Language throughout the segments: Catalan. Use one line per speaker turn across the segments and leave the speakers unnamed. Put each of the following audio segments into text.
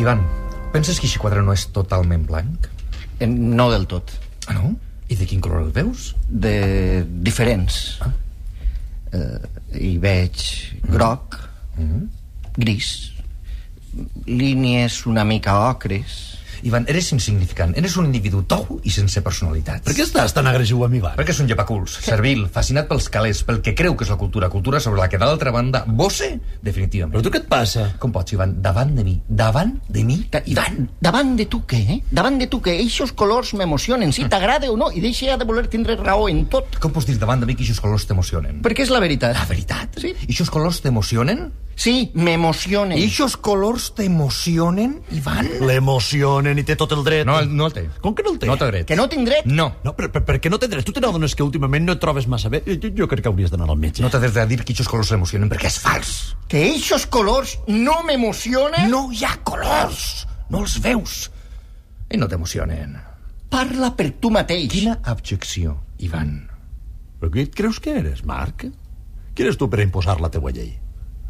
Ivan, penses que aquest quadre no és totalment blanc?
Eh, No del tot,
Ah, no? I de quin color el veus?
de diferents.
Ah. Mm-hmm.
Eh, hi veig groc, gris, línies una mica ocres...
Ivan, eres insignificant. Eres un individu tou i sense personalitat.
Per què estàs tan agressiu amb Ivan?
Perquè és un llepaculs, servil, fascinat pels calés, pel que creu que és la cultura, cultura sobre la que d'altra banda bosse definitivament.
Però tu què et passa?
Com pots, Ivan? Davant de mi. Davant de mi,
Ta-
Ivan.
Davant de tu, què? Eh? Davant de tu, què? Eixos colors m'emocionen,
Mm.
si t'agrada o no, i deixa ja de voler tindre raó en tot.
Com pots dir davant de mi que aquests colors t'emocionen?
Perquè és la veritat.
La veritat?
Sí.
I aquests colors t'emocionen?
Sí, m'emocionen.
I aquests colors t'emocionen, Ivan?
L'emocionen i té tot el dret.
No, no el té.
Com que no el té?
No té dret.
Que no tinc dret?
No.
No, però per, per què no té dret? Tu te n'adones que últimament no et trobes massa bé? Eh, Jo, jo crec que hauries d'anar al metge.
No t'has de dir que aquests colors t'emocionen perquè és fals.
Que eixos colors no m'emocionen?
No hi ha colors! No els veus. I no t'emocionen.
Parla per tu mateix.
Quina abjecció, Ivan.
Però qui et creus que eres, Marc? Qui eres tu per imposar la teua llei?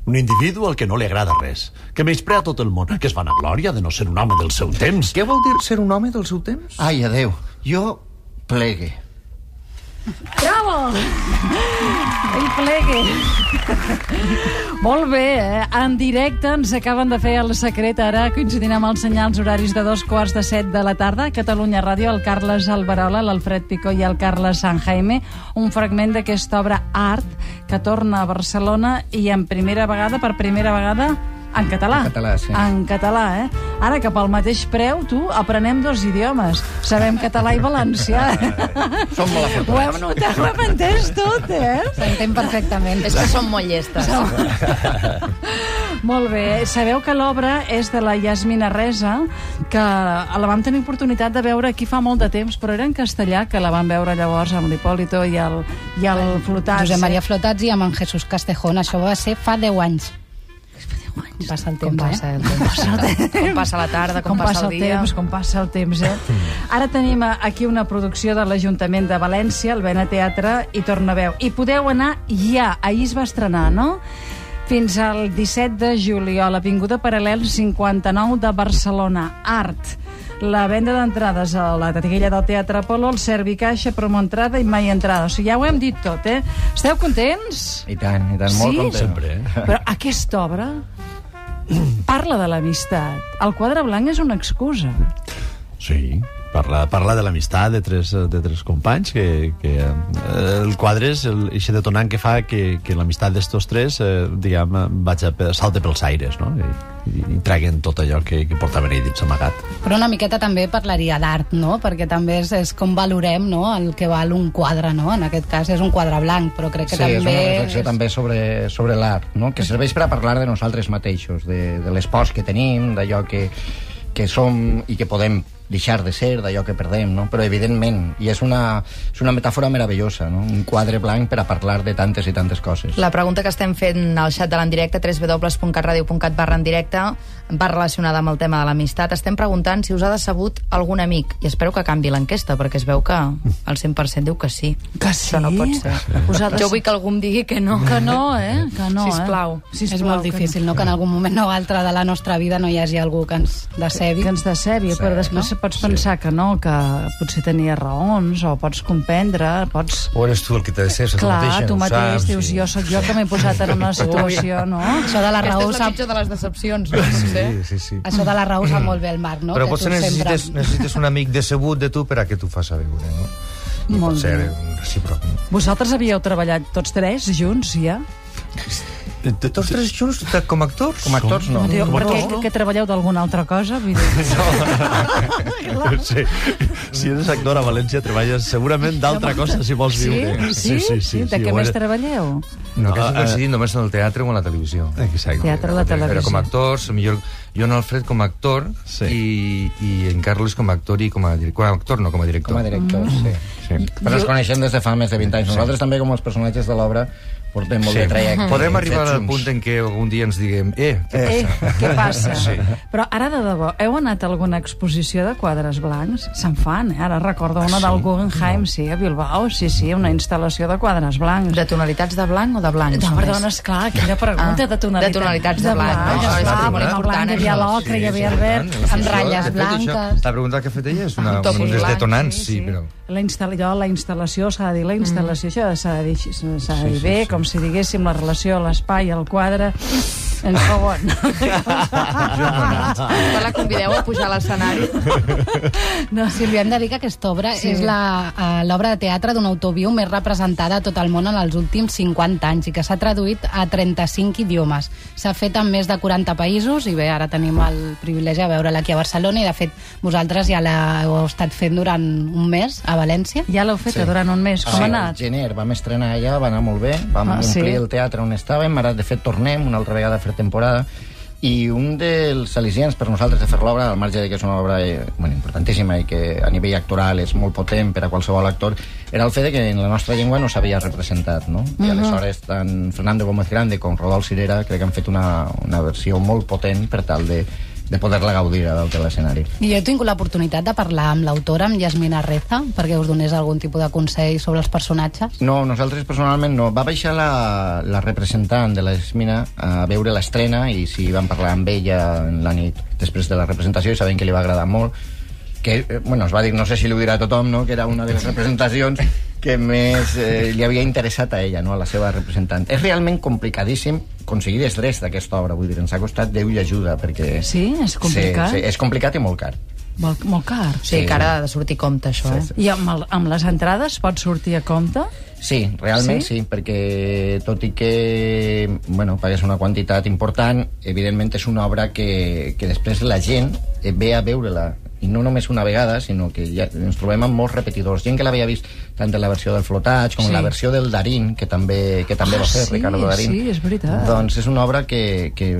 Un individu al que no li agrada res, que menysprea tot el món, que es fan a glòria de no ser un home del seu temps.
Què vol dir ser un home del seu temps?
Ai, adeu. Jo plegue.
Bravo! Ell plegui. Molt bé, eh? En directe ens acaben de fer el secret ara, coincidint amb els senyals horaris de dos quarts de set de la tarda. A Catalunya Ràdio, el Carles Alberola, l'Alfred Picó i el Carles San Jaime. Un fragment d'aquesta obra art que torna a Barcelona i en primera vegada, per primera vegada, en català.
En català, sí.
En català, eh? Ara que pel mateix preu, tu, aprenem dos idiomes. Sabem català i valencià.
Som molt afortunats.
Ho hem notat, ho hem entès tot, eh?
S'entén perfectament. És que són molt llestes.
Molt bé. Sabeu que l'obra és de la Yasmina Resa, que la vam tenir oportunitat de veure aquí fa molt de temps, però era en castellà, que la vam veure llavors amb l'Hipòlito i el, i el Flotat.
Josep Maria Flotats i amb en Jesús Castejón. Això va ser fa 10 anys. Com passa el temps,
Com passa
eh?
el temps. Com passa la tarda, com, passa el dia.
temps, com passa el temps, eh?
Mm.
Ara tenim eh, aquí una producció de l'Ajuntament de València, el Bena Teatre, i torna veu. I podeu anar ja, ahir es va estrenar, no? Fins al 17 de juliol, Avinguda Paral·lel 59 de Barcelona. Art. La venda d'entrades a la taquilla del Teatre Apolo, el Servi Caixa, promo entrada i mai entrada. O sigui, ja ho hem dit tot, eh? Esteu contents?
I tant, i tant,
Sí?
molt content.
Sempre, eh?
Però aquesta obra parla de l'amistat. El quadre blanc és una excusa.
Sí, parla, parla de l'amistat de, tres, de tres companys que, que eh, el quadre és el- eixe detonant que fa que, que l'amistat d'estos tres eh, diguem, vaig a, salta pels aires no? I, i, i traguen tot allò que, que portaven ell dins amagat
Però una miqueta també parlaria d'art, no? Perquè també és, és com valorem no? el que val un quadre, no? En aquest cas és un quadre blanc, però crec que
Sí,
també...
és una reflexió
és-
també sobre, sobre l'art, no? que serveix per a parlar de nosaltres mateixos, de, de l'espòs que tenim, d'allò que, que som i que podem deixar de ser, d'allò que perdem, no? però evidentment, i és una, és una metàfora meravellosa, no? un quadre blanc per a parlar de tantes i tantes coses.
La pregunta que estem fent al xat de l'endirecte, www.catradio.cat barra en directe, va relacionada amb el tema de l'amistat. Estem preguntant si us ha decebut algun amic, i espero que canvi l'enquesta, perquè es veu que el 100% diu que sí.
Que sí?
Això no pot ser.
Us ha de-
Jo vull que algú em digui que no.
Que no, eh? Que no,
Sisplau.
Eh?
és molt
que no.
difícil, no? Que en algun moment o altre de la nostra vida no hi hagi algú que ens decebi.
Que ens decebi, però després pots pensar que no, que potser tenia raons, o pots comprendre, pots...
O eres tu el que te deseps a tu
Clar,
mateixa,
tu
no ho
mateix
saps,
dius,
i-
jo sóc jo que m'he posat en una situació, no?
Això de la
Aquesta
raó
és la
sap...
pitjor de les decepcions, no? Potser.
Sí, sí, sí.
Això de la raó sap molt bé el Marc, no?
Però
Que
potser
tu
necessites, necessites un amic decebut de tu per a que t'ho fas a veure, no? I
Molt
pot ser
bé.
un recíproc. no?
Vosaltres havíeu treballat tots tres junts, ja?
Tots tres junts de- com a actors?
Com a actors, no.
Diu,
Com a
perquè,
tots,
que,
no?
que treballeu d'alguna altra cosa? Vull dir,
sí. si eres actor a València treballes segurament d'altra cosa si vols
sí?
viure
Sí? sí, De què
ho
més
eres.
treballeu?
No, que has
Ah, eh.
coincidit només en el teatre o en la televisió.
Exacte.
Teatre, la
Però com a
televisió.
actors, millor, jo en Alfred com a actor
Sí.
i, i en Carles com a actor i com a director. Com a actor, no com a director.
Com a director, sí.
Sí.
Però ens coneixem des de fa més de 20 anys. Nosaltres també, com els personatges de l'obra, pues, portem molt sí. de trajecte.
Podem
hem
arribar al
fet junts.
punt en què algun dia ens diguem eh, què
Eh,
passa?
què passa?
Sí.
Sí. Però ara, de debò, heu anat a alguna exposició de quadres blancs? Se'n fan, eh? Ara recordo
Ah,
una del Guggenheim, sí, a Bilbao, sí, sí, una instal·lació de quadres blancs.
De tonalitats de blanc o de blanc?
No, perdona, esclar, quina pregunta
Ah,
de tonalitats.
de tonalitats de blanc,
blanc,
no?
ja
Això
està,
és
blanc,
molt
blanc,
important,
hi havia
això.
l'ocre, hi havia el verd,
amb ratlles blanques.
La pregunta que ha fet ella és una,
Amb tons
un dels
blancs,
detonants, sí, però...
La, instal·la, jo, la instal·lació, s'ha de dir, la
Mm.
instal·lació, això s'ha de dir, així, s'ha de dir bé, com si diguéssim la relació a l'espai, al quadre... En segon.
Ah. Quan la convideu a pujar a l'escenari?
no,
Sí, li hem de dir que aquesta obra
Sí.
sí. és la, eh, l'obra de teatre d'un autoviu més representada a tot el món en els últims 50 anys i que s'ha traduït a 35 idiomes. S'ha fet en més de 40 països i bé, ara tenim el privilegi de veure-la aquí a Barcelona i de fet vosaltres ja l'heu estat fent durant un mes a València.
ja l'heu fet sí. durant un mes. Com
Sí,
ha
al
anat?
gener vam estrenar allà, va anar molt bé, vam
Ah,
ah, omplir
sí?
el teatre on estàvem, ara de fet tornem una altra vegada a fer temporada, i un dels al·licients per nosaltres de fer l'obra, al marge de que és una obra eh, bueno, importantíssima i que a nivell actoral és molt potent per a qualsevol actor, era el fet de que en la nostra llengua no s'havia representat, no?
Mhm.
I aleshores tant Fernando Gómez Grande com Rodolf Cirera crec que han fet una, una versió molt potent per tal de, de poder-la gaudir a dalt de l'escenari.
I jo he tingut l'oportunitat de parlar amb l'autora, amb Yasmina Reza, perquè us donés algun tipus de consell sobre els personatges.
No, nosaltres personalment no. Va baixar la, la representant de la Esmina a veure l'estrena i si van parlar amb ella en la nit després de la representació i saben que li va agradar molt que, eh, bueno, es va dir, no sé si li ho dirà a tothom, no? que era una de les representacions que més eh, li havia interessat a ella, no? a la seva representant. És realment complicadíssim aconseguir els drets d'aquesta obra, vull dir, ens ha costat Déu i ajuda, perquè...
Sí? És complicat?
Sí, sí, és complicat i molt car.
Molt, molt car.
Sí, que ara ha de sortir compte, això, eh?
I amb, el, amb les entrades pot sortir a compte?
Sí, realment sí?
Sí?
sí, perquè tot i que bueno, pagues una quantitat important, evidentment és una obra que, que després la gent eh, ve a veure-la i no només una vegada, sinó que ja ens trobem amb molts repetidors. Gent que l'havia vist tant en la versió del Flotatge com en
Sí.
la versió del Darín, que també, que també
Ah,
va fer
sí,
Ricardo Darín.
sí, és veritat.
Doncs és una obra que, que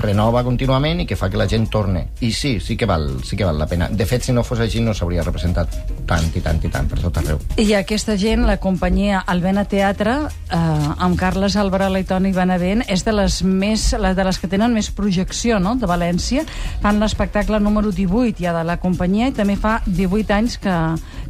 renova contínuament i que fa que la gent torne. I sí, sí que val, sí que val la pena. De fet, si no fos així, no s'hauria representat tant i tant i tant per tot arreu.
I aquesta gent, la companyia Albena Teatre, eh, amb Carles Alvarela i Toni Benavent, és de les, més, la, de les que tenen més projecció, no?, de València. Fan l'espectacle número 18 ja de la companyia i també fa 18 anys que,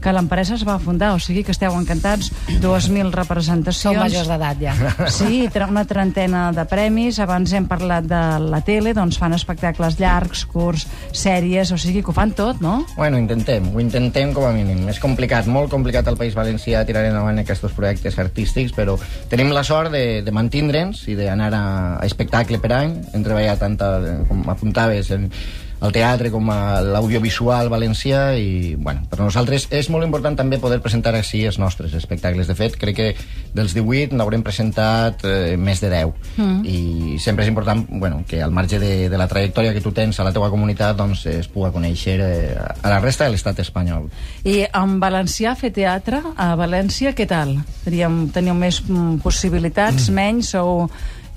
que l'empresa es va fundar, o sigui que esteu encantats, 2.000 representacions.
Sou majors d'edat, ja.
Sí, tra- una trentena de premis. Abans hem parlat de la tele, doncs fan espectacles llargs, curts, sèries, o sigui que ho fan tot, no?
Bueno, intentem, ho intentem com a mínim. És complicat, molt complicat al País Valencià tirar endavant aquests projectes artístics, però tenim la sort de, de mantindre'ns i d'anar a, a espectacle per any. Hem treballat tant, a, com apuntaves, en, al teatre com a l'audiovisual valencià i, bueno, per nosaltres és molt important també poder presentar així els nostres espectacles. De fet, crec que dels 18 n'haurem presentat eh, més de 10 mm. i sempre és important bueno, que al marge de, de la trajectòria que tu tens a la teua comunitat doncs, es puga conèixer eh, a la resta de l'estat espanyol.
I en valencià fer teatre a València, què tal? Teníem, teniu més mm, possibilitats, menys, o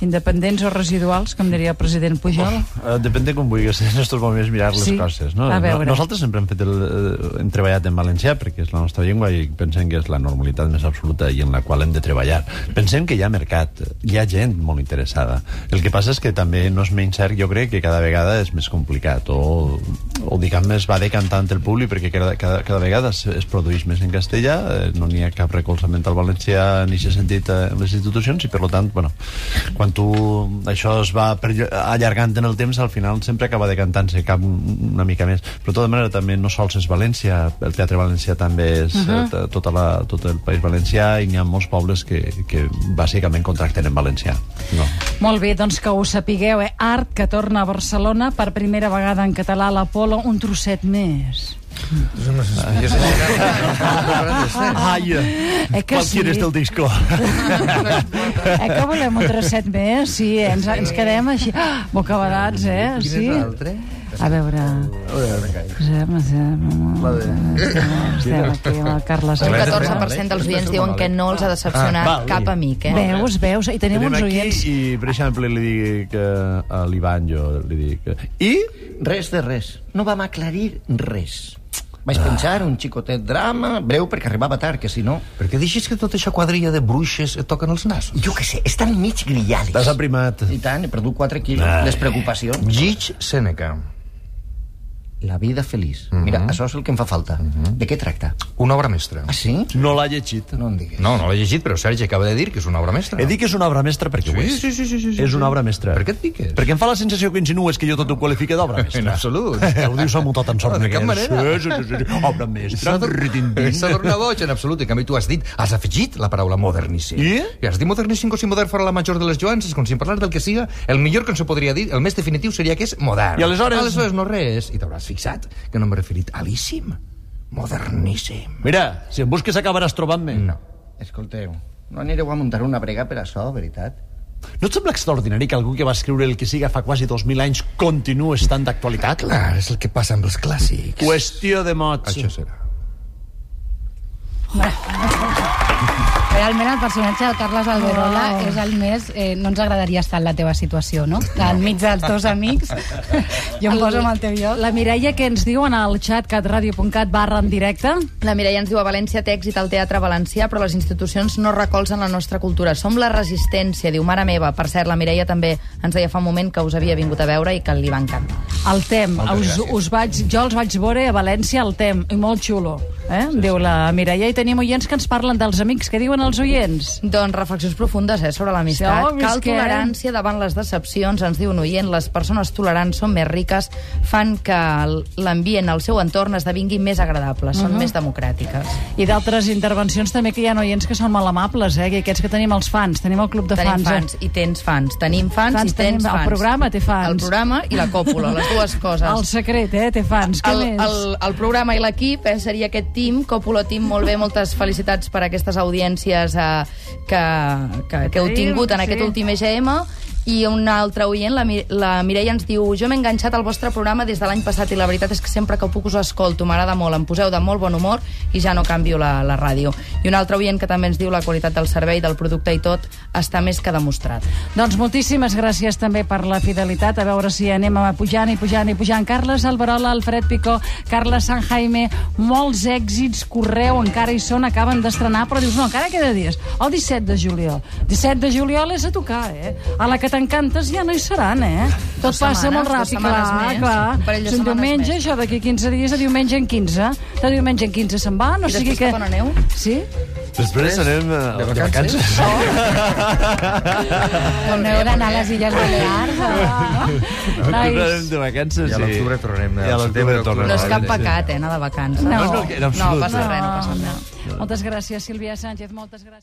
independents o residuals, com diria el president Pujol?
Eh, depèn de com vulguis en aquests moments mirar les
Sí,
coses. No?
a veure.
No- Nosaltres sempre hem, fet el, eh, hem treballat en valencià perquè és la nostra llengua i pensem que és la normalitat més absoluta i en la qual hem de treballar. Pensem que hi ha mercat, hi ha gent molt interessada. El que passa és que també no és menys cert, jo crec que cada vegada és més complicat o, o diguem es va decantant el públic perquè cada, cada, cada vegada es, es produeix més en castellà, eh, no n'hi ha cap recolzament al valencià en aquest sentit eh, en les institucions i per lo tant, bueno, quan tu això es va perll- allargant en el temps al final sempre acaba decantant-se cap un- una mica més, però de tota manera també no sols és València, el Teatre Valencià també és uh
Mhm.
-huh. tota la, tot el País Valencià i n'hi ha molts pobles que, que bàsicament contracten en valencià no.
Molt bé, doncs que ho sapigueu, eh? Art, que torna a Barcelona per primera vegada en català a l'Apolo, un trosset més.
És una sensació.
Ai,
Eh que sí?
disco?
Eh, que volem un trosset més? Sí, eh? ens, ens quedem així, ah, bocabadats, eh?
Quin
Sí.
és l'altre?
A veure... Josep, Josep, Estem aquí, el Carles.
Un
Ah, Res de
14% dels oients diuen que no els ha decepcionat
Ah, val,
cap
i-
amic, eh?
Veus, veus, i tenim
Tenim
uns
aquí
oients...
i, per exemple, li dic eh, a l'Ivan, jo li dic... eh, I?
Res de res. No vam aclarir res. Vaig penjar un xicotet drama, breu, perquè arribava tard, que si no...
Per què deixes que tota aquesta quadrilla de bruixes et toquen els nassos?
Jo què sé, estan mig grillades.
T'has aprimat.
I tant, he perdut 4 quilos.
Ai.
Les preocupacions.
Gig Seneca.
La vida feliç. Mira, això és el que em fa falta. De què tracta?
Una obra mestra.
Ah, sí?
No l'ha llegit.
Mhm. No em diguis.
No, no l'he llegit, però Sergi acaba de dir que és una obra mestra.
He dit que és una obra mestra perquè ho
Sí,
és.
sí, sí, sí, sí, sí.
És una obra mestra.
Per què et piques?
Perquè em fa la sensació que insinues que jo tot ho qualifique d'obra mestra.
En absolut.
Que ho dius amb tot en sort.
No, de cap
que-
manera.
Sí, sí, sí, sí. Obra mestra.
S'ha de- S'ha de donar boig, en absolut. En canvi, tu has dit, has afegit la paraula moderníssim.
I?
I has dit moderníssim com si modern fora la major de les joances, com si en parlar del que siga, el millor que ens ho podria dir, el més definitiu seria que és modern.
I aleshores?
Aleshores no res. I t'hauràs fixat que no m'he referit a l'íssim. Moderníssim.
Mira, si em busques acabaràs trobant-me.
No.
Escolteu, no anireu a muntar una brega per això, veritat?
No et sembla extraordinari que algú que va escriure el que siga fa quasi 2.000 anys continua estant d'actualitat?
Clar, és el que passa amb els clàssics.
Qüestió de mots.
Això serà.
Realment el personatge del Carles Alberola
Ah.
és el més... Eh, no ens agradaria estar en la teva situació, no? Al mig dels dos amics, jo em poso amb el teu lloc.
La Mireia, que ens diuen al xat catradio.cat barra en directe?
La Mireia ens diu a València té èxit al teatre valencià, però les institucions no recolzen la nostra cultura. Som la resistència, diu mare meva. Per cert, la Mireia també ens deia fa un moment que us havia vingut a veure i que li va encantar.
El TEM. Us, us vaig, jo els vaig veure a València al TEM, i molt xulo. Eh? Sí, Diu la Mireia, i tenim oients que ens parlen dels amics, que diuen els oients.
Doncs reflexions profundes eh, sobre l'amistat.
Sí, home,
Cal
és que-
tolerància davant les decepcions, ens diu un oient. Les persones tolerants són més riques, fan que l- l'ambient al seu entorn esdevingui més agradable, són més democràtiques.
I d'altres intervencions també que hi ha oients que són mal amables, eh? que aquests que tenim els fans, tenim el club de fans.
Tenim
eh?
fans i tens fans. Tenim fans,
Fans
i
tenim-
tens
el
fans.
programa té fans.
El programa i la còpula, les dues
Eh?
coses.
El secret, eh? té fans. Què
el,
més?
el, el programa i l'equip eh, seria aquest team, Còpula Team, molt bé, moltes felicitats per aquestes audiències eh, que, que, que heu
Tenim,
tingut en
sí.
aquest últim EGM i un altre oient, la, Mi- la Mireia ens diu jo m'he enganxat al vostre programa des de l'any passat i la veritat és que sempre que puc us escolto m'agrada molt, em poseu de molt bon humor i ja no canvio la, la ràdio i un altre oient que també ens diu la qualitat del servei del producte i tot està més que demostrat
Doncs moltíssimes gràcies també per la fidelitat. A veure si anem a pujant i pujant i pujant. Carles Alberola, Alfred Picó, Carles San Jaime, molts èxits, correu, encara hi són, acaben d'estrenar, però dius, no, encara queda dies. El 17 de juliol. 17 de juliol és a tocar, eh? A la que t'encantes ja no hi seran, eh? Tot
Dues
passa
setmanes,
molt
dues
ràpid,
setmanes
clar,
més. Un
clar.
parell de
És un
setmanes
diumenge,
més.
això d'aquí 15 dies, a diumenge en 15. De diumenge en 15 se'n va, no
I
sigui
després
que...
cap on aneu?
Sí?
Després anem eh, de vacances.
Torneu d'anar a les Illes Balears. A...
eh?
Nosaltres
Nois.
anem de vacances.
I a l'octubre
sí.
tornem, eh?
I a
Setembre,
l'octubre tornem.
octubre.
no és
vale,
cap
sí.
pecat, eh, anar de vacances
No.
No, no, en absolut.
no passa res, no passa res
Moltes gràcies, Sílvia Sánchez, moltes gràcies.